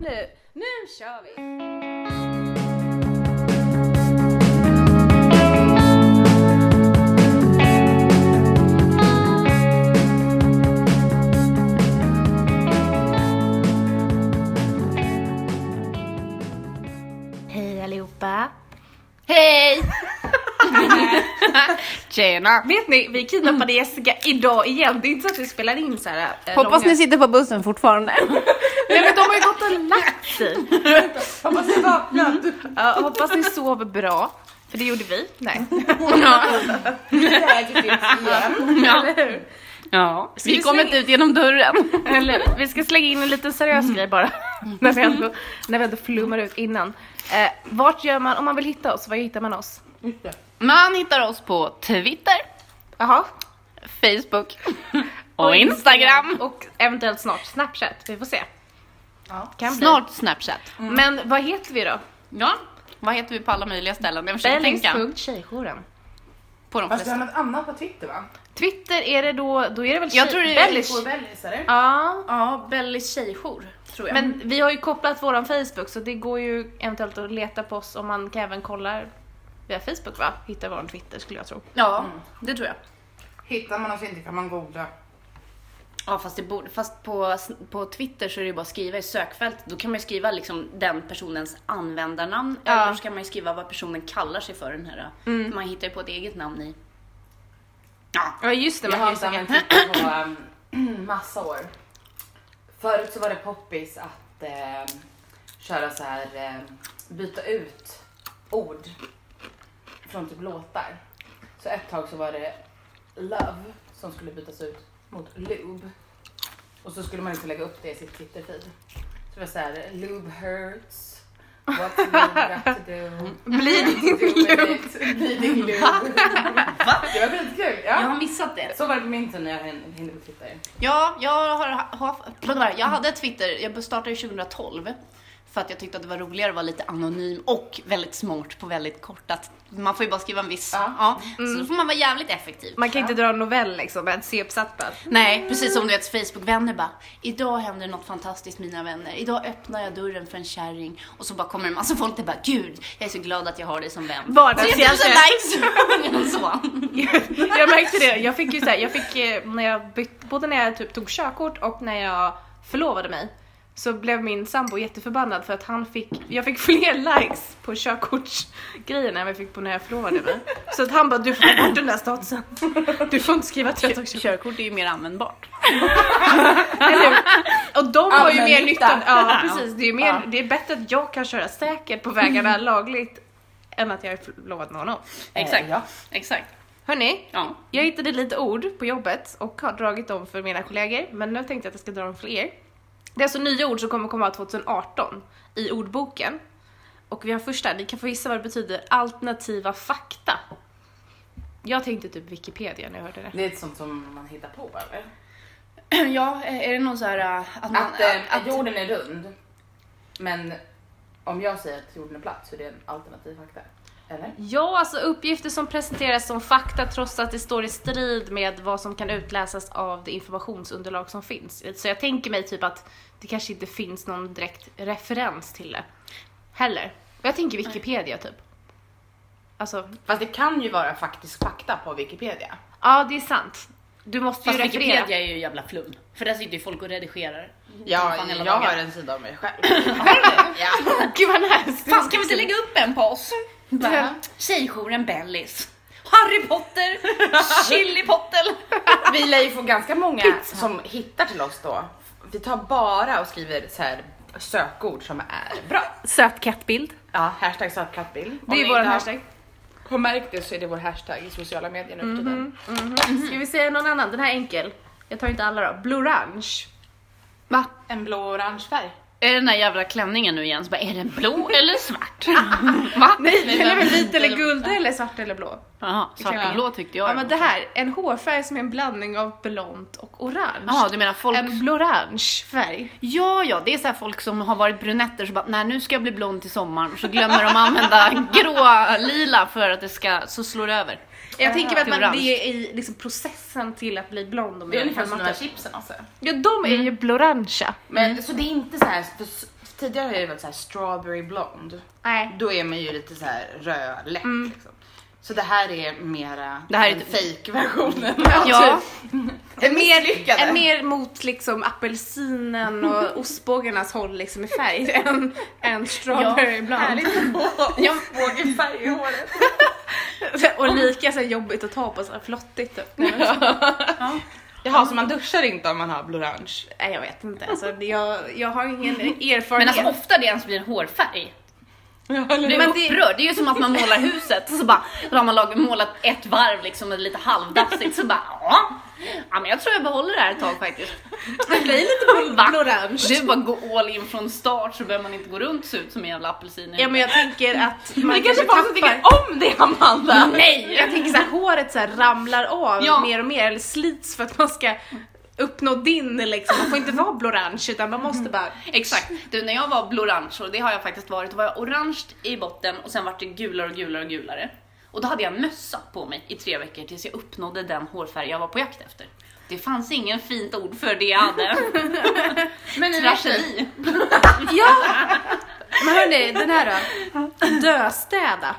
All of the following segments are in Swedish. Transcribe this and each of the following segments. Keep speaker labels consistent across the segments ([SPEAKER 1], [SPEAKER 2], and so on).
[SPEAKER 1] Nu, nu kör vi!
[SPEAKER 2] Hej allihopa! Hej! Tjena!
[SPEAKER 1] Vet ni, vi kidnappade Jessica idag igen. Det är inte så att vi spelar in så här. eh,
[SPEAKER 3] Hoppas
[SPEAKER 1] långa-
[SPEAKER 3] ni sitter på bussen fortfarande.
[SPEAKER 1] Nej men de har ju gått och lagt sig.
[SPEAKER 3] Hoppas ni vaknat.
[SPEAKER 1] Ja, hoppas ni sov bra. För det gjorde vi. Nej.
[SPEAKER 2] Ja. ja.
[SPEAKER 1] Ska vi
[SPEAKER 2] Vi kom
[SPEAKER 1] slänga
[SPEAKER 2] inte ut genom dörren.
[SPEAKER 1] Eller, vi ska slänga in en liten seriös grej bara. när, vi ändå, när vi ändå flummar ut innan. Eh, vart gör man, om man vill hitta oss, var hittar man oss?
[SPEAKER 2] Man hittar oss på Twitter,
[SPEAKER 1] Jaha.
[SPEAKER 2] Facebook och Instagram.
[SPEAKER 1] Och eventuellt snart Snapchat, vi får se. Kan bli. Mm.
[SPEAKER 2] Snart Snapchat.
[SPEAKER 1] Men vad heter vi då?
[SPEAKER 2] Ja, vad heter vi på alla möjliga ställen? Jag försöker tänka
[SPEAKER 1] Bellis.tjejjouren.
[SPEAKER 2] på de
[SPEAKER 4] Fast vi har
[SPEAKER 2] flesta.
[SPEAKER 4] något annat på Twitter va?
[SPEAKER 1] Twitter är det då, då är det väl
[SPEAKER 2] Jag
[SPEAKER 1] tjej-
[SPEAKER 2] tror det är-
[SPEAKER 1] Bellis.
[SPEAKER 4] Vår vällis eller?
[SPEAKER 1] Ja,
[SPEAKER 2] Ja, Bellis tjejjour tror jag. Men
[SPEAKER 1] men vi har ju kopplat våran Facebook så det går ju eventuellt att leta på oss och man kan även kolla via Facebook va? Hitta våran Twitter skulle jag tro.
[SPEAKER 2] ja, det tror jag.
[SPEAKER 4] Hittar man oss inte kan man googla.
[SPEAKER 2] Ja fast, det borde, fast på, på Twitter så är det ju bara att skriva i sökfältet. Då kan man ju skriva liksom den personens användarnamn.
[SPEAKER 1] Ja.
[SPEAKER 2] Eller så kan man ju skriva vad personen kallar sig för den här.
[SPEAKER 1] Mm.
[SPEAKER 2] Man hittar ju på ett eget namn i... Ja.
[SPEAKER 1] Ja just det,
[SPEAKER 4] Jag
[SPEAKER 1] man
[SPEAKER 4] har
[SPEAKER 1] kan ju
[SPEAKER 4] inte
[SPEAKER 1] söka-
[SPEAKER 4] använt Twitter typ på um, massa år. Förut så var det poppis att eh, köra så här eh, byta ut ord från typ låtar. Så ett tag så var det love som skulle bytas ut mot lube. Och så skulle man inte lägga upp det i sitt Twitterfeed. Så det var så här lube hurts. What's lube got to do?
[SPEAKER 1] Bleeding
[SPEAKER 4] Lube. Bleeding lube. Det var skitkul.
[SPEAKER 2] Jag
[SPEAKER 4] Ja.
[SPEAKER 2] har missat det.
[SPEAKER 4] Så var det på min tur när jag hin- hinner på Twitter.
[SPEAKER 2] Ja, jag har, har jag hade ett Twitter, jag startade 2012. För att jag tyckte att det var roligare att vara lite anonym och väldigt smart på väldigt kort. Att man får ju bara skriva en viss... Ja. Mm.
[SPEAKER 4] Ja.
[SPEAKER 2] Så då får man vara jävligt effektiv.
[SPEAKER 1] Man kan inte dra en novell liksom, en C-uppsats.
[SPEAKER 2] Nej, precis som du vet Facebook-vänner bara. Idag händer något fantastiskt mina vänner. Idag öppnar jag dörren för en kärring och så bara kommer en massa folk och bara Gud, jag är så glad att jag har dig som vän. 3000
[SPEAKER 1] Vardagshjälte.
[SPEAKER 2] likes! så.
[SPEAKER 1] jag märkte det, jag fick ju såhär, jag fick eh, när jag bytt, både när jag typ tog körkort och när jag förlovade mig så blev min sambo jätteförbannad för att han fick, jag fick fler likes på körkortsgrejerna än vad jag fick på när jag förlovade mig. Så att han bara du får ta bort den där statusen. Du får inte skriva att jag tog körkort.
[SPEAKER 2] Körkort är ju mer användbart.
[SPEAKER 1] Eller hur? Och de har ju mer
[SPEAKER 4] Allmännytta.
[SPEAKER 1] nytta, ja precis. Det är, ju mer, det är bättre att jag kan köra säkert på vägarna lagligt än att jag är förlovad med honom.
[SPEAKER 2] Exakt.
[SPEAKER 4] Eh, ja.
[SPEAKER 2] Exakt.
[SPEAKER 1] Hörni,
[SPEAKER 2] Ja.
[SPEAKER 1] Jag hittade lite ord på jobbet och har dragit dem för mina kollegor, men nu tänkte jag att jag ska dra dem för er. Det är alltså nya ord som kommer komma 2018 i ordboken. Och vi har första, ni kan få gissa vad det betyder, alternativa fakta. Jag tänkte typ Wikipedia när jag hörde det.
[SPEAKER 4] Det är ett sånt som man hittar på eller?
[SPEAKER 2] Ja, är det någon så här äh, att man...
[SPEAKER 4] Att, eh, att jorden är rund. Men om jag säger att jorden är platt så är det en alternativ fakta. Eller?
[SPEAKER 1] Ja, alltså uppgifter som presenteras som fakta trots att det står i strid med vad som kan utläsas av det informationsunderlag som finns. Så jag tänker mig typ att det kanske inte finns någon direkt referens till det heller. Och Jag tänker Wikipedia typ. Alltså,
[SPEAKER 4] Fast det kan ju vara faktisk fakta på Wikipedia.
[SPEAKER 1] ja det är sant. Du måste ju
[SPEAKER 2] Fast
[SPEAKER 1] referera.
[SPEAKER 2] Wikipedia är ju jävla flum. För där sitter ju folk och redigerar.
[SPEAKER 4] Ja,
[SPEAKER 2] Fan, hela
[SPEAKER 4] jag
[SPEAKER 2] dagar.
[SPEAKER 4] har en sida av mig själv.
[SPEAKER 1] Gud vad nice!
[SPEAKER 2] Fan, ska vi inte lägga upp en på oss?
[SPEAKER 4] Va?
[SPEAKER 2] Tjejjouren Bellis. Harry Potter, Chili Potter.
[SPEAKER 4] Vi lär ju få ganska många som hittar till oss då. Vi tar bara och skriver så här sökord som är bra.
[SPEAKER 1] Söt kattbild.
[SPEAKER 4] Ja, hashtag sötplattbild.
[SPEAKER 1] Det är vår hashtag.
[SPEAKER 4] Har märkt det så är det vår hashtag i sociala medier nu för tiden.
[SPEAKER 2] Mm-hmm.
[SPEAKER 1] Ska vi säga någon annan? Den här är enkel. Jag tar inte alla då. Blurange.
[SPEAKER 2] Va?
[SPEAKER 4] En blå-orange färg.
[SPEAKER 2] Är den där jävla klänningen nu igen? Så bara, är den blå eller svart? Va?
[SPEAKER 1] Nej, den är väl vit eller
[SPEAKER 2] gul?
[SPEAKER 1] guld eller svart eller blå?
[SPEAKER 2] Jaha, svart och blå tyckte jag.
[SPEAKER 1] Ja men det här, en hårfärg som är en blandning av blont och orange.
[SPEAKER 2] Jaha, du menar folk...
[SPEAKER 1] En blorange färg.
[SPEAKER 2] Ja, ja, det är så här folk som har varit brunetter så bara, nej nu ska jag bli blond till sommaren. Så glömmer de använda grå, lila för att det ska, så slår det över.
[SPEAKER 1] Jag tänker mig att man,
[SPEAKER 2] Orange.
[SPEAKER 1] det är i liksom processen till att typ- bli blond. Om
[SPEAKER 4] Det är
[SPEAKER 1] jag
[SPEAKER 4] ungefär som de här
[SPEAKER 1] har Mm.
[SPEAKER 4] chipsen alltså.
[SPEAKER 1] ja, de är ju blorangea.
[SPEAKER 4] Men, Så det är inte så här för, tidigare har det varit så här strawberry blond.
[SPEAKER 1] Nej.
[SPEAKER 4] Då är man ju lite så här rödlätt
[SPEAKER 1] Mm.
[SPEAKER 4] liksom. Så det här är mera
[SPEAKER 2] Det här är
[SPEAKER 4] den
[SPEAKER 2] typ-
[SPEAKER 4] fake-versionen.
[SPEAKER 1] Ja, Typ.
[SPEAKER 4] En mer lyckade.
[SPEAKER 1] är mer mot liksom apelsinen och ostbågarnas håll liksom i färg än, än strawberry ibland.
[SPEAKER 4] Härligt att få fågelfärg i håret.
[SPEAKER 1] Och lika så här jobbigt att ta på, så här flottigt typ. Nej, men-
[SPEAKER 4] Jaha, så man duschar inte om man har blorange?
[SPEAKER 1] Nej jag vet inte, alltså, det- jag, jag har ingen erfarenhet.
[SPEAKER 2] Men alltså ofta det ens blir en hårfärg. Du är
[SPEAKER 1] Men det-
[SPEAKER 2] upprörd. Det är ju som att man målar huset och så bara då har man lag- målat ett varv liksom och lite halvdafsigt så bara ja. ja men jag tror jag behåller det här ett tag faktiskt. Det blir lite
[SPEAKER 1] blorange.
[SPEAKER 2] Du bara går all in från start så behöver man inte gå runt och se ut som en jävla apelsin. i
[SPEAKER 1] Ja men jag tänker att man
[SPEAKER 4] Det kanske är folk som tycker om det Amanda!
[SPEAKER 2] huvudet. Nej!
[SPEAKER 1] Jag tänker såhär, håret så här ramlar av
[SPEAKER 2] Ja.
[SPEAKER 1] mer och mer, eller slits för att man ska uppnå din liksom. Man får inte vara blorange utan man måste bara...
[SPEAKER 2] Exakt. Du när jag var blorange och det har jag faktiskt varit, då var jag orange i botten och sen vart det gulare och gulare och gulare. Och då hade jag mössa på mig i tre veckor tills jag uppnådde den hårfärg jag var på jakt efter. Det fanns ingen fint ord för det jag hade.
[SPEAKER 4] Men nu
[SPEAKER 2] Tragedi.
[SPEAKER 1] Ja! Men hörni, den här då? Döstäda.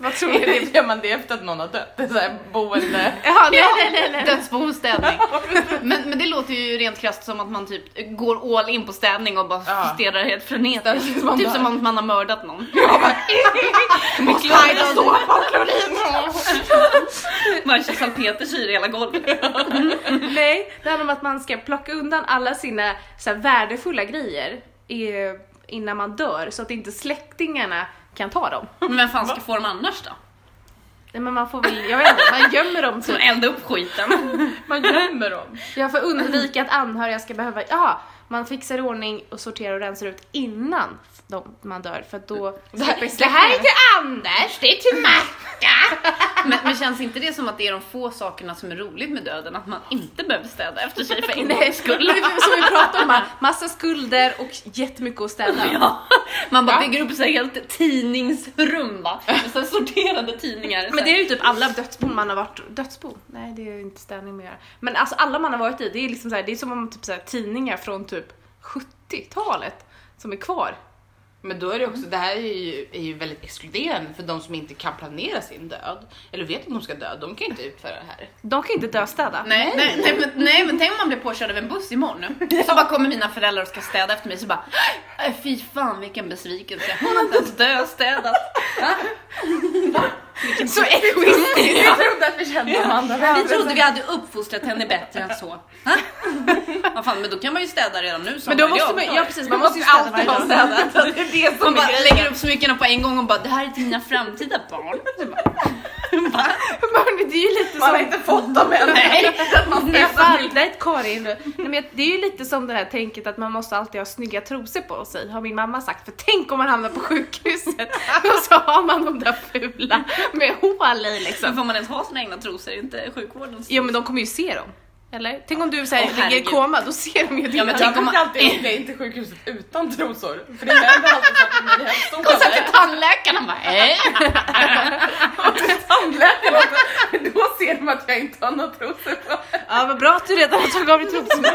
[SPEAKER 1] Vad tror ni?
[SPEAKER 4] gör man det efter att någon har dött. Det är såhär boende.
[SPEAKER 1] Ja, nej, nej, nej, nej.
[SPEAKER 2] Dödsbostädning. Men, men det låter ju rent krasst som att man typ går all in på städning och bara
[SPEAKER 4] Ja.
[SPEAKER 2] stirrar helt
[SPEAKER 4] Städning
[SPEAKER 2] frenetiskt.
[SPEAKER 4] tills man
[SPEAKER 2] Typ
[SPEAKER 4] dör.
[SPEAKER 2] som om man har mördat någon. Med klorin. Man kör salpetersyra i hela golvet.
[SPEAKER 1] Nej, det handlar om att man ska plocka undan alla sina så här, värdefulla grejer eh, innan man dör så att inte släktingarna kan ta dem.
[SPEAKER 2] Men vem fan ska få dem annars då?
[SPEAKER 1] Nej men man får väl, jag vet inte, man gömmer dem
[SPEAKER 2] Som
[SPEAKER 1] typ.
[SPEAKER 2] eldar upp skiten.
[SPEAKER 4] Man gömmer dem.
[SPEAKER 1] Jag får undvika att anhöriga ska behöva, ja, man fixar i ordning och sorterar och rensar ut innan de, man dör för att då slipper släktingarna.
[SPEAKER 2] till Anders, det är till Macka. Men, men känns inte det som att det är de få sakerna som är roligt med döden? Att man inte behöver städa efter sig för en gångs skull.
[SPEAKER 1] Som vi pratade om, här, massa skulder och jättemycket att städa.
[SPEAKER 2] Ja, man bara
[SPEAKER 1] Ja.
[SPEAKER 2] bygger upp sig helt tidningsrum va. Och sen sorterade tidningar.
[SPEAKER 1] Men det är ju typ alla dödsbon man har varit dödsbo. Nej det är ju inte städning med att göra. Men alltså alla man har varit i, det är liksom så här, det är som om typ så här, tidningar från typ 70-talet som är kvar.
[SPEAKER 4] Men då är det också, det här är ju, är ju väldigt exkluderande för de som inte kan planera sin död. Eller vet om de ska dö, de kan ju inte utföra det här.
[SPEAKER 1] De kan ju inte döstäda.
[SPEAKER 2] Nej, nej, nej, men, nej men tänk om man blir påkörd av en buss imorgon nu. Så bara kommer mina föräldrar och ska städa efter mig så bara "Äh, Fy fan vilken besvikelse. Hon har inte ens döstädat.
[SPEAKER 1] Så egoistiskt!
[SPEAKER 4] Jag trodde att vi kände Amanda
[SPEAKER 2] Vi trodde vi hade uppfostrat henne bättre än så. Ha? Vad fan, men då kan man ju städa redan nu. som
[SPEAKER 1] Men då
[SPEAKER 2] man
[SPEAKER 1] måste
[SPEAKER 2] gör.
[SPEAKER 1] man, ja precis, man måste ju städa varje dag.
[SPEAKER 4] städat. så Det är det
[SPEAKER 2] Man
[SPEAKER 4] som
[SPEAKER 2] bara
[SPEAKER 4] är grejen.
[SPEAKER 2] lägger upp smyckena på en gång och bara det här är till mina framtida barn.
[SPEAKER 1] Men hörni, det är ju lite
[SPEAKER 4] Man har
[SPEAKER 1] som...
[SPEAKER 4] inte fått dem än.
[SPEAKER 2] Nej, man
[SPEAKER 1] Nej, fan, nej, Karin. Nej, men jag- det är ju lite som det här tänket att man måste alltid ha snygga trosor på sig, har min mamma sagt. För tänk om man hamnar på sjukhuset och så har man de där fula med hål i liksom.
[SPEAKER 2] Sen får man ens ha sina egna trosor, inte sjukvårdens.
[SPEAKER 1] Ja men de kommer ju se dem. Eller? Tänk om du så
[SPEAKER 2] Åh,
[SPEAKER 1] här, ligger i
[SPEAKER 2] herregud.
[SPEAKER 1] koma, då ser de ju det.
[SPEAKER 2] Ja, men
[SPEAKER 4] Jag
[SPEAKER 2] tänk om
[SPEAKER 4] brukar
[SPEAKER 2] man...
[SPEAKER 4] alltid åka in till sjukhuset utan trosor. För det händer alltid saker med det här
[SPEAKER 2] Och sen till tandläkaren bara "Äh." hej.
[SPEAKER 4] tandläkaren. Då ser de att jag inte har några trosor på.
[SPEAKER 1] ja vad bra att du redan har tagit av dig trosorna.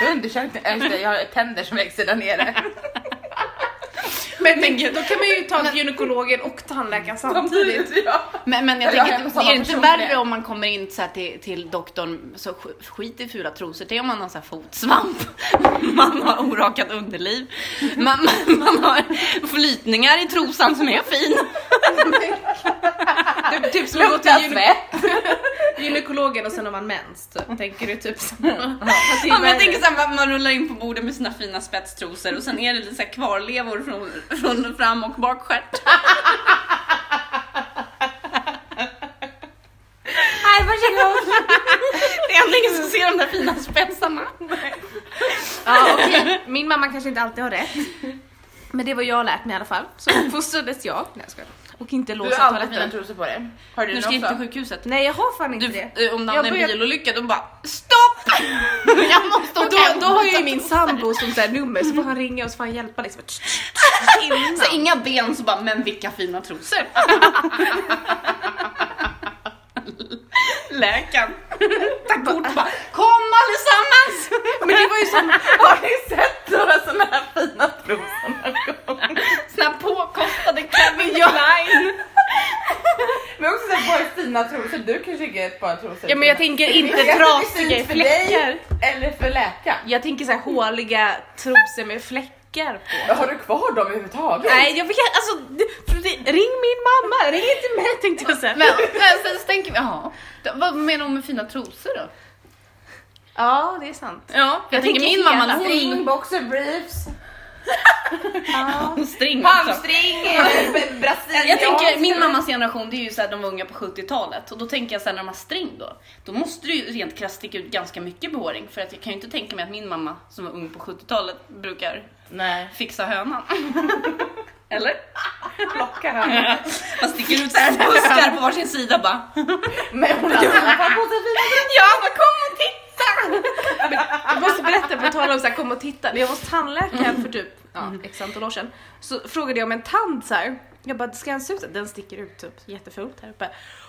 [SPEAKER 4] Jag undersökte, just det, jag har tänder som växer där nere.
[SPEAKER 1] Men tänk, då kan man ju ta till gynekologen och tandläkaren samtidigt.
[SPEAKER 4] Samtidigt, ja. typ.
[SPEAKER 2] Men, men jag
[SPEAKER 4] Jag
[SPEAKER 2] tänker,
[SPEAKER 4] är
[SPEAKER 2] att
[SPEAKER 4] samma
[SPEAKER 2] är det inte
[SPEAKER 4] person
[SPEAKER 2] värre
[SPEAKER 4] det.
[SPEAKER 2] om man kommer in så här till, till doktorn, så sk- skit i fula trosor, det är om man har så här fotsvamp, man har orakat underliv, man, man, man har flytningar i trosan som är fin.
[SPEAKER 1] Typ, typ som att gå till gyne- gynekologen och sen har man mens. Typ. Tänker du typ så? Att det är
[SPEAKER 2] Ja, men jag
[SPEAKER 1] värre.
[SPEAKER 2] tänker så här, man- man rullar in på bordet med sina fina spetstrosor och sen är det lite så här kvarlevor från, från fram och bakstjärt.
[SPEAKER 1] Nej, varsågod.
[SPEAKER 2] Det är ingen som ser de där fina spetsarna.
[SPEAKER 1] Ja, okej. Min mamma kanske inte alltid har rätt. Men det var jag lärt mig i alla fall. Så fostrades jag. Nej, jag skojar. Och inte
[SPEAKER 4] Du
[SPEAKER 1] låsa
[SPEAKER 4] har aldrig mina
[SPEAKER 1] toaletten.
[SPEAKER 4] trosor på dig. Har du
[SPEAKER 2] Nu
[SPEAKER 4] det
[SPEAKER 2] ska jag till
[SPEAKER 4] också?
[SPEAKER 2] sjukhuset.
[SPEAKER 1] Nej, jag har fan inte
[SPEAKER 2] Du,
[SPEAKER 1] det.
[SPEAKER 2] eh, om det
[SPEAKER 1] Jag
[SPEAKER 2] hamnar en
[SPEAKER 1] börjar-
[SPEAKER 2] bilolycka, då bara STOPP! Jag måste
[SPEAKER 1] Och
[SPEAKER 2] åka
[SPEAKER 1] då,
[SPEAKER 2] hem.
[SPEAKER 1] då har jag ju min sambo som så här nummer så får han ringa och så får han hjälpa liksom. Innan.
[SPEAKER 2] Så Alltså, inga ben så bara, men vilka fina trosor! Läkaren. Ta kort bara, kom allesammans!
[SPEAKER 1] Men det var ju som, har ni
[SPEAKER 3] du kanske tycker ett par trosor.
[SPEAKER 1] Ja men jag tänker
[SPEAKER 4] Jag vet
[SPEAKER 1] inte
[SPEAKER 4] inte
[SPEAKER 1] trasiga
[SPEAKER 4] fint för dig.
[SPEAKER 1] fläckar.
[SPEAKER 4] Eller för läkaren.
[SPEAKER 1] Jag tänker så här håliga trosor med fläckar på.
[SPEAKER 4] Har du kvar dem överhuvudtaget?
[SPEAKER 1] Nej jag vet alltså d- för det- ring min mamma, ring inte mig tänkte jag säga.
[SPEAKER 2] Men, men sen så tänker vi, jaha. Vad menar hon med fina trosor då?
[SPEAKER 1] Ja det är sant.
[SPEAKER 2] Ja, jag, tänker
[SPEAKER 1] tänker
[SPEAKER 2] min mamma
[SPEAKER 1] hela
[SPEAKER 2] när
[SPEAKER 4] String,
[SPEAKER 2] hon...
[SPEAKER 4] boxer briefs,
[SPEAKER 2] Hon string också.
[SPEAKER 4] hamstring, eh, b- brasiliansk.
[SPEAKER 2] Jag tänker min mammas generation, det är ju såhär de var unga på 70-talet och då tänker jag såhär när de har string då, då måste det ju rent krasst sticka ut ganska mycket behåring för att jag kan ju inte tänka mig att min mamma som var ung på 70-talet brukar
[SPEAKER 4] Nej.
[SPEAKER 2] fixa hönan. Eller?
[SPEAKER 3] plockar han.
[SPEAKER 2] Man sticker ut såhär buskar på varsin sida bara.
[SPEAKER 4] Men hon hade i alla fall på sig fina
[SPEAKER 2] Ja, men kom och titta!
[SPEAKER 1] Jag måste berätta, på tal om så här, kom och titta. När jag var hos tandläkaren för typ ja,
[SPEAKER 2] Mm.
[SPEAKER 1] x antal år sedan så frågade jag om en tand så här. Jag bara, ska den se ut? Den sticker ut typ jättefult här uppe.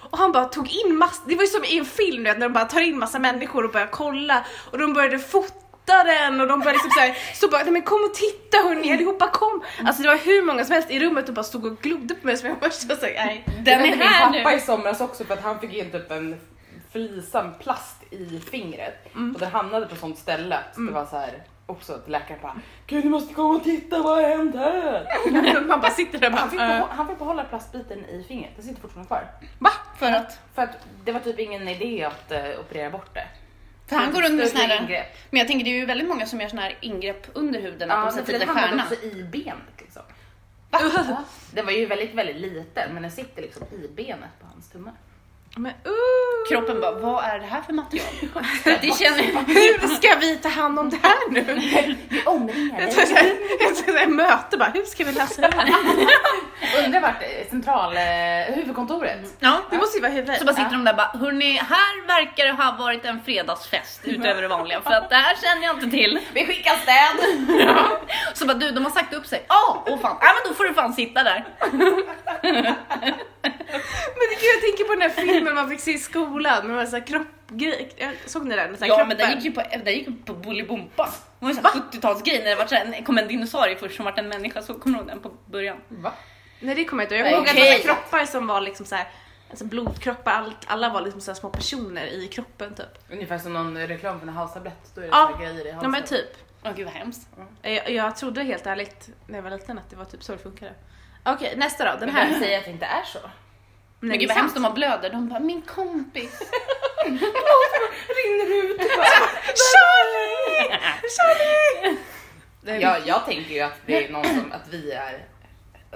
[SPEAKER 1] Och han bara tog in massa, det var ju som i en film du vet, när de bara tar in massa människor och börjar kolla och de började fota den och de började liksom såhär, så bara, nej men kom och titta hörni allihopa kom. Alltså det var hur många som helst i rummet och bara stod och glodde på mig som jag först var såhär, nej.
[SPEAKER 2] Den är här
[SPEAKER 4] Min pappa
[SPEAKER 2] nu.
[SPEAKER 4] i somras också för att han fick in typ en flisa, en plast i fingret och den hamnade på sånt ställe så det var så här också att läkaren bara Gud du måste komma och titta vad har hänt här?
[SPEAKER 1] Man bara sitter där och
[SPEAKER 4] Han fick,
[SPEAKER 1] bara,
[SPEAKER 2] Eh.
[SPEAKER 4] behå-
[SPEAKER 1] äh,
[SPEAKER 4] han fick behålla plastbiten i fingret, den sitter fortfarande kvar.
[SPEAKER 1] va?
[SPEAKER 2] För att
[SPEAKER 4] För att det var typ ingen idé att eh, operera bort det.
[SPEAKER 2] för han går runt med
[SPEAKER 4] Större
[SPEAKER 2] såna här...
[SPEAKER 4] ingrepp.
[SPEAKER 2] Men jag tänker det är ju väldigt många som gör såna här ingrepp under huden, att de
[SPEAKER 4] Ja, men för
[SPEAKER 2] sätter
[SPEAKER 4] den
[SPEAKER 2] lite
[SPEAKER 4] hamnade
[SPEAKER 2] stjärna.
[SPEAKER 4] också i benet liksom. Den var ju väldigt, väldigt liten men den sitter liksom i benet på hans tumme.
[SPEAKER 1] Men, uh.
[SPEAKER 2] Kroppen bara, vad är det här för material? det känner
[SPEAKER 1] Hur ska vi ta hand om det här nu?
[SPEAKER 4] Vi omringar
[SPEAKER 1] Jag
[SPEAKER 4] dig.
[SPEAKER 1] tror såhär, jag tror såhär, möte bara, hur ska vi lösa det här?
[SPEAKER 4] Undrar vart eh, central, eh, huvudkontoret?
[SPEAKER 2] Ja,
[SPEAKER 1] Det måste ju vara huvudet.
[SPEAKER 2] Så bara sitter de där och bara, hörni, här verkar det ha varit en fredagsfest utöver det vanliga för att det här känner jag inte till.
[SPEAKER 4] Vi skickar städ!
[SPEAKER 2] Så bara, du, de har sagt upp sig. Ja, åh fan, ja men då får du fan sitta där.
[SPEAKER 1] Men det kan jag tänker på den här filmen man fick se i skolan, med de här så här kroppgrej. Jag- Såg ni den? Så här
[SPEAKER 2] Ja,
[SPEAKER 1] kroppen.
[SPEAKER 2] men den gick ju på, den gick ju på Bolibompa. Det var ju en 70-talsgrej när det var så här, kom en dinosaurie först som vart en människa, så kommer du ihåg den på början?
[SPEAKER 4] Va?
[SPEAKER 1] Nej det kommer jag inte ihåg.
[SPEAKER 2] Nej,
[SPEAKER 1] Jag ihåg att det
[SPEAKER 2] okej.
[SPEAKER 1] var kroppar som var liksom såhär, alltså blodkroppar, allt, alla var liksom så här små personer i kroppen typ.
[SPEAKER 4] Ungefär som någon reklam för en halstablett, då är det
[SPEAKER 1] Ja.
[SPEAKER 4] såna grejer i halsen.
[SPEAKER 1] Ja men typ.
[SPEAKER 2] Åh gud vad hemskt.
[SPEAKER 1] Jag, jag trodde helt ärligt när jag var liten att det var typ så det funkade. Okej nästa då, den
[SPEAKER 4] Den
[SPEAKER 1] här.
[SPEAKER 4] här säger att det inte är så.
[SPEAKER 1] Nej,
[SPEAKER 2] Men
[SPEAKER 1] det är
[SPEAKER 2] gud vad
[SPEAKER 1] sant.
[SPEAKER 2] hemskt de har blöder, de bara, min kompis.
[SPEAKER 4] Rinner ut!
[SPEAKER 1] Charlie! Charlie! Nej,
[SPEAKER 4] Ja, jag tänker ju att det är någon som, att vi är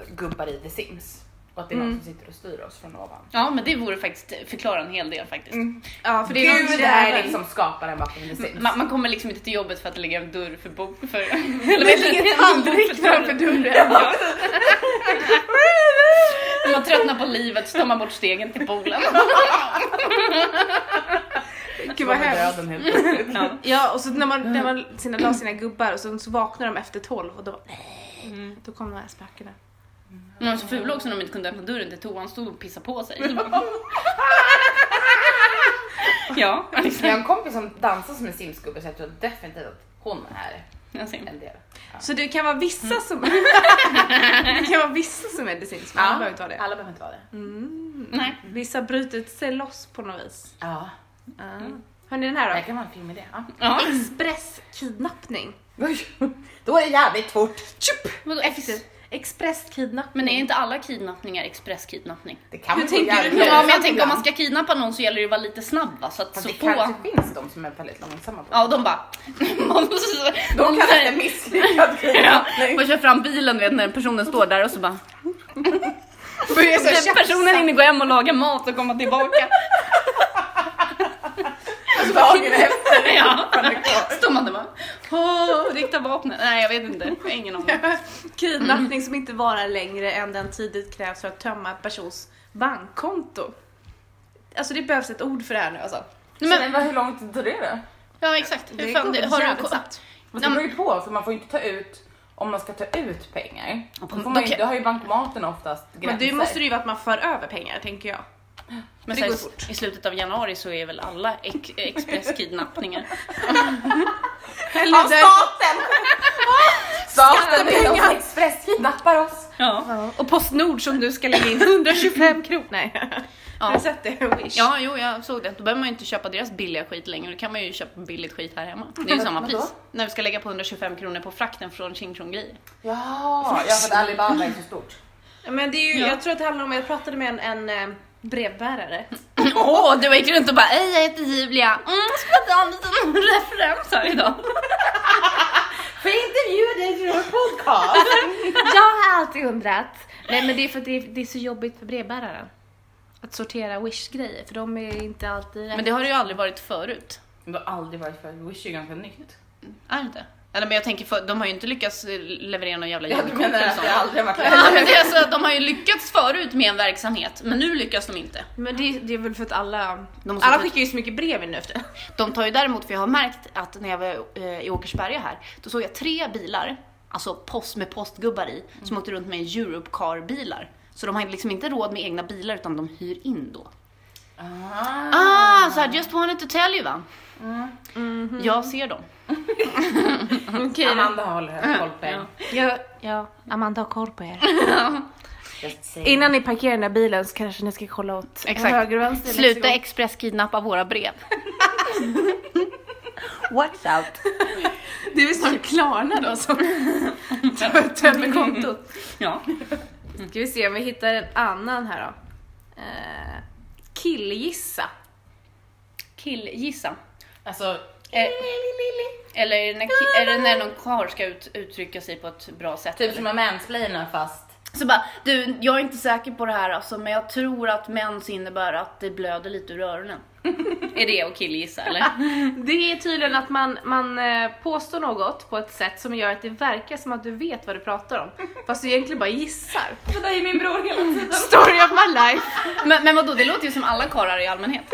[SPEAKER 4] gubbar i The Sims. Och att det är någon
[SPEAKER 1] Mm.
[SPEAKER 4] som sitter och styr oss från ovan.
[SPEAKER 2] Ja men det vore faktiskt förklara en hel del faktiskt.
[SPEAKER 1] Mm. ja för det är någon
[SPEAKER 4] Gud är
[SPEAKER 1] jävel.
[SPEAKER 4] liksom skaparen bakom The Sims.
[SPEAKER 2] Man, man kommer liksom inte till jobbet för att lägga en dörr för bok för... Eller vet
[SPEAKER 1] ligger
[SPEAKER 2] du,
[SPEAKER 1] en handduk framför dörren.
[SPEAKER 2] Ja. När man tröttnar på livet så tar man bort stegen till poolen.
[SPEAKER 1] Gud vad hemskt.
[SPEAKER 4] döden helt plötsligt.
[SPEAKER 2] Ja.
[SPEAKER 1] Ja och så när man, när man sina, la sina gubbar och så, så vaknar de efter tolv och då, då kommer de här spökena.
[SPEAKER 2] De var så fula också när de inte kunde öppna dörren till toan, stod och pissade på sig. Ja,
[SPEAKER 4] Jag
[SPEAKER 2] liksom.
[SPEAKER 4] har en kompis som dansar som en Sims-gubbe så jag tror definitivt att hon är
[SPEAKER 2] Jag ser.
[SPEAKER 4] en del.
[SPEAKER 1] Så det kan vara vissa som Det kan vara vissa som är decins, men alla behöver inte ha det.
[SPEAKER 4] Alla behöver inte vara det.
[SPEAKER 2] Nej.
[SPEAKER 1] Vissa bryter sig loss på något vis.
[SPEAKER 4] Ja,
[SPEAKER 1] Mm. Hörni den här
[SPEAKER 4] det
[SPEAKER 1] då?
[SPEAKER 4] kan vara en film i det. Ja.
[SPEAKER 2] Ja.
[SPEAKER 1] Expresskidnappning.
[SPEAKER 4] Då är det jävligt fort.
[SPEAKER 1] Tjup!
[SPEAKER 2] Vadå, ex-
[SPEAKER 1] Expresskidnappning.
[SPEAKER 2] Men är inte alla kidnappningar expresskidnappning?
[SPEAKER 4] Det kan
[SPEAKER 1] Hur
[SPEAKER 4] gå
[SPEAKER 1] tänker du
[SPEAKER 4] jävligt
[SPEAKER 1] nu?
[SPEAKER 2] Ja, men jag
[SPEAKER 4] långsamt
[SPEAKER 2] tänker om man
[SPEAKER 4] ibland.
[SPEAKER 2] ska kidnappa någon så gäller det att vara lite snabb va? Så att
[SPEAKER 4] Fast
[SPEAKER 2] så
[SPEAKER 4] det
[SPEAKER 2] på...
[SPEAKER 4] kanske finns de som är väldigt långsamma på det.
[SPEAKER 2] Ja, de bara...
[SPEAKER 4] De kallas det misslyckad
[SPEAKER 2] Ja,
[SPEAKER 4] kidnappning.
[SPEAKER 2] man kör fram bilen du vet när personen står där och så bara
[SPEAKER 1] Börjar
[SPEAKER 2] Den
[SPEAKER 1] såhär
[SPEAKER 2] personen hinner gå hem och laga mat och komma tillbaka.
[SPEAKER 4] Dagen efter.
[SPEAKER 2] ja. Står man där bara, "Åh, rikta vapnet. Nej jag vet inte, jag har ingen aning.
[SPEAKER 1] Kidnappning som inte varar längre än den tid det krävs för att tömma en persons bankkonto. Alltså det behövs ett ord för det här nu alltså.
[SPEAKER 2] Nej,
[SPEAKER 4] Men,
[SPEAKER 2] men,
[SPEAKER 4] vad, hur lång tid tar det då?
[SPEAKER 2] ja exakt, hur
[SPEAKER 1] Det
[SPEAKER 2] fan
[SPEAKER 1] går
[SPEAKER 2] det,
[SPEAKER 1] väl
[SPEAKER 2] har du
[SPEAKER 1] jävligt
[SPEAKER 2] ko-
[SPEAKER 1] snabbt.
[SPEAKER 4] Fast det beror ju på för man får ju inte ta ut om man ska ta ut pengar. Då, får man ju,
[SPEAKER 2] kan-
[SPEAKER 4] då har ju bankomaten oftast gränser.
[SPEAKER 1] Men det måste det ju vara att man för över pengar tänker jag.
[SPEAKER 2] men
[SPEAKER 1] Det
[SPEAKER 2] sen
[SPEAKER 1] går
[SPEAKER 2] i- i slutet av januari så är väl alla ex- expresskidnappningar.
[SPEAKER 1] Eller
[SPEAKER 4] Av staten! staten vill oss expresskidnappar oss.
[SPEAKER 2] Ja.
[SPEAKER 1] Och Postnord som nu ska lägga in 125 kronor. Nej, har
[SPEAKER 2] Ja.
[SPEAKER 1] du sett det? Wish.
[SPEAKER 2] ja, jo jag såg det. Då behöver man ju inte köpa deras billiga skit längre. Då kan man ju köpa billigt skit här hemma. Det är ju samma
[SPEAKER 4] Vadå?
[SPEAKER 2] pris. När vi ska lägga på 125 kronor på frakten från Ching Chong Grejer.
[SPEAKER 4] Ja, jag har fått Alibaba är så stort.
[SPEAKER 1] Men det är ju,
[SPEAKER 2] Ja.
[SPEAKER 1] jag tror att det handlar om, jag pratade med en, en eh, brevbärare.
[SPEAKER 2] Åh, du gick runt och bara Hej, jag heter Julia. Mm, jag ska ta en liten referens här idag.
[SPEAKER 4] Får jag intervjua dig till vår podcast?
[SPEAKER 1] Jag har alltid undrat. Nej men det är för att det är, det är så jobbigt för brevbäraren. Att sortera Wish-grejer för de är inte alltid rätt.
[SPEAKER 2] Men det har det ju aldrig varit förut.
[SPEAKER 4] Du har aldrig varit för Wish är ju ganska nytt.
[SPEAKER 2] Är det inte? Eller men jag tänker, för, de har ju inte lyckats eh, leverera någon jävla
[SPEAKER 4] Ja, du
[SPEAKER 2] julkort
[SPEAKER 4] menar
[SPEAKER 2] eller
[SPEAKER 4] att
[SPEAKER 2] sånt.
[SPEAKER 4] jag aldrig har varit
[SPEAKER 2] Ja, men det är så att de har ju lyckats förut med en verksamhet, men nu lyckas de inte.
[SPEAKER 1] Men det, det är väl för att alla...
[SPEAKER 2] De måste
[SPEAKER 1] alla
[SPEAKER 2] skicka-
[SPEAKER 1] skickar ju så mycket brev in nu efter.
[SPEAKER 2] De tar ju däremot, för jag har märkt att när jag var eh, i Åkersberga här, då såg jag tre bilar, alltså post med postgubbar i, som åkte runt med Europecar-bilar. Så de har liksom inte råd med egna bilar utan de hyr in då.
[SPEAKER 4] Ah. Mm.
[SPEAKER 2] Ah, so I just wanted to tell you va? Jag ser dem.
[SPEAKER 1] Okej
[SPEAKER 4] Amanda håller koll på dig.
[SPEAKER 1] ja, ja, Amanda har koll på er.
[SPEAKER 4] Jag ska säga.
[SPEAKER 1] Innan ni parkerar den här bilen så kanske ni ska kolla åt
[SPEAKER 2] Exakt.
[SPEAKER 1] höger och vänster.
[SPEAKER 2] Sluta expresskidnappa våra brev.
[SPEAKER 4] Watch out.
[SPEAKER 1] Det är väl snart Klarna då som tömmer kontot.
[SPEAKER 2] Ja.
[SPEAKER 1] Ska vi se om vi hittar en annan här då. Eh, killgissa.
[SPEAKER 2] Killgissa.
[SPEAKER 4] Alltså,
[SPEAKER 2] Eh, Eller är det, när, ki- är det när någon karl ska ut, uttrycka sig på ett bra sätt?
[SPEAKER 4] typ
[SPEAKER 2] eller?
[SPEAKER 4] som en mansplainer fast
[SPEAKER 2] Så bara, du jag är inte säker på det här alltså, men jag tror att mens innebär att det blöder lite ur öronen. är det att killgissa eller?
[SPEAKER 1] Det är tydligen att man, man eh, påstår något på ett sätt som gör att det verkar som att du vet vad du pratar om. Fast du egentligen bara gissar.
[SPEAKER 4] Det där är min bror hela tiden.
[SPEAKER 1] Story of my life!
[SPEAKER 2] men, men vadå, det låter ju som alla karlar i allmänhet.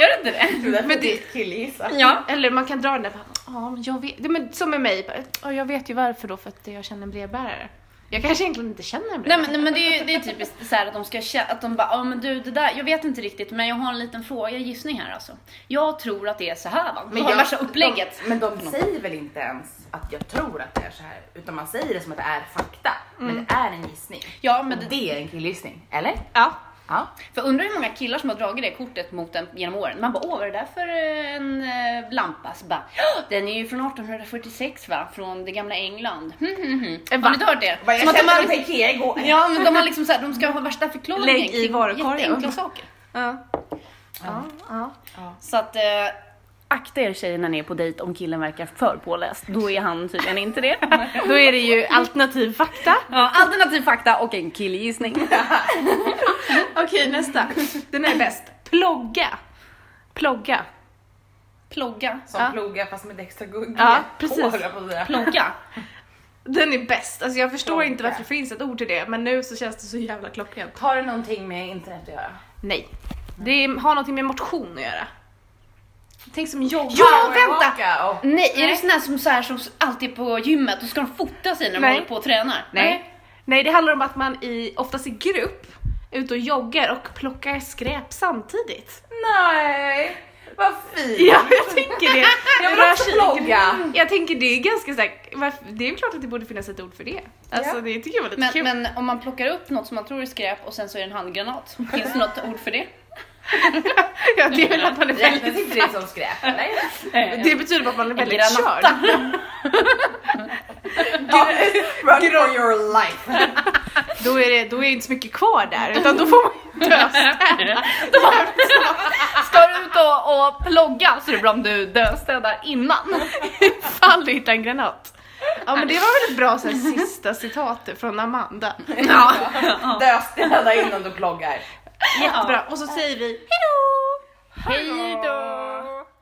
[SPEAKER 2] Gör det inte det?
[SPEAKER 4] Det där är killgissa.
[SPEAKER 2] Ja.
[SPEAKER 1] Eller man kan dra den där, bara, ja men jag vet, det, men, som med mig, bara, "Ja, jag vet ju varför då för att jag känner en brevbärare. Jag kanske egentligen inte känner en
[SPEAKER 2] Nej
[SPEAKER 1] brevbärare.
[SPEAKER 2] men, nej, men det, är, ju- det är typiskt så här att de ska kä- att de bara, ja men du det där, jag vet inte riktigt men jag har en liten fråga, gissning här alltså. Jag tror att det är så här va? Men
[SPEAKER 4] Men
[SPEAKER 2] jag,
[SPEAKER 4] jag-
[SPEAKER 2] värsta upplägget.
[SPEAKER 4] Men de säger väl inte ens att jag tror att det är så här utan man säger det som att det är fakta. Men det är en gissning.
[SPEAKER 2] Ja men
[SPEAKER 4] Men
[SPEAKER 2] det,
[SPEAKER 4] det är en killgissning, eller?
[SPEAKER 1] Ja.
[SPEAKER 4] Ja.
[SPEAKER 2] För undrar hur många killar som har dragit det kortet mot en genom åren. Man bara, åh vad är det där för eh, en eh, lampa? Så bara, "Ja, den är ju från 1846 va? Från det gamla England. Hmm, hmm, hmm. Har ni inte hört det?
[SPEAKER 4] Vad
[SPEAKER 2] Som
[SPEAKER 4] jag
[SPEAKER 2] att de, har,
[SPEAKER 4] kände på
[SPEAKER 2] liksom-
[SPEAKER 4] Ikea igår.
[SPEAKER 2] ja, men de, har liksom så här, de ska ha värsta förklaringen
[SPEAKER 1] Lägg i varukorgen.
[SPEAKER 2] jätteenkla saker.
[SPEAKER 1] Ja. Ja, ja.
[SPEAKER 2] Så att, eh, akta er tjejer när ni är på dejt om killen verkar för påläst. Då är han tydligen inte det.
[SPEAKER 1] Då är det ju alternativ fakta.
[SPEAKER 2] Ja, alternativ fakta och en killgissning.
[SPEAKER 1] Okej nästa. Den är bäst. Plogga. Plogga.
[SPEAKER 2] Plogga.
[SPEAKER 4] Som
[SPEAKER 1] Ja.
[SPEAKER 4] ploga fast med ett extra gugg.
[SPEAKER 1] Ja, precis.
[SPEAKER 4] Hår, jag på att säga.
[SPEAKER 2] Plogga.
[SPEAKER 1] Den är bäst. Alltså jag förstår
[SPEAKER 4] Plogga.
[SPEAKER 1] inte varför det finns ett ord till det men nu så känns det så jävla klockrent.
[SPEAKER 4] Har det någonting med internet att göra?
[SPEAKER 1] Nej. Det är- har någonting med motion att göra. Tänk som jogga.
[SPEAKER 2] Ja, vänta!
[SPEAKER 4] Powerwalka och-
[SPEAKER 2] Nej, är det sån här som, så här, som alltid är på gymmet och ska de fota sig när de
[SPEAKER 1] Nej.
[SPEAKER 2] håller på och tränar?
[SPEAKER 1] Nej. Nej, det handlar om att man i, oftast i grupp är ute och joggar och plockar skräp samtidigt.
[SPEAKER 4] Nej, vad fint.
[SPEAKER 1] Ja, jag tänker det.
[SPEAKER 4] Jag vill
[SPEAKER 1] Det rör
[SPEAKER 4] också
[SPEAKER 1] sig lite-
[SPEAKER 4] plogga.
[SPEAKER 1] Jag tänker det är ganska såhär, varför- det är ju klart att det borde finnas ett ord för det. Alltså
[SPEAKER 4] Ja.
[SPEAKER 1] det tycker jag var lite
[SPEAKER 2] Men,
[SPEAKER 1] kul.
[SPEAKER 2] men om man plockar upp något som man tror är skräp och sen så är det en handgranat. Finns det något ord för det?
[SPEAKER 1] ja, det är väl att man är väldigt
[SPEAKER 4] Räknas inte det som skräp eller?
[SPEAKER 1] Det betyder bara att man är väldigt
[SPEAKER 2] Granata.
[SPEAKER 1] körd.
[SPEAKER 4] Run for your life.
[SPEAKER 1] Då är, det, då är det inte så mycket kvar där utan då får man ju döstäda.
[SPEAKER 2] Ska du ut och, och plogga så är det bra om du döstädar innan.
[SPEAKER 1] Ifall du hittar en granat. Ja men det var väl ett bra så här, sista citat från Amanda.
[SPEAKER 2] Ja.
[SPEAKER 4] Döstäda innan du ploggar.
[SPEAKER 1] Jättebra. Och så säger vi hejdå!
[SPEAKER 2] Hej då!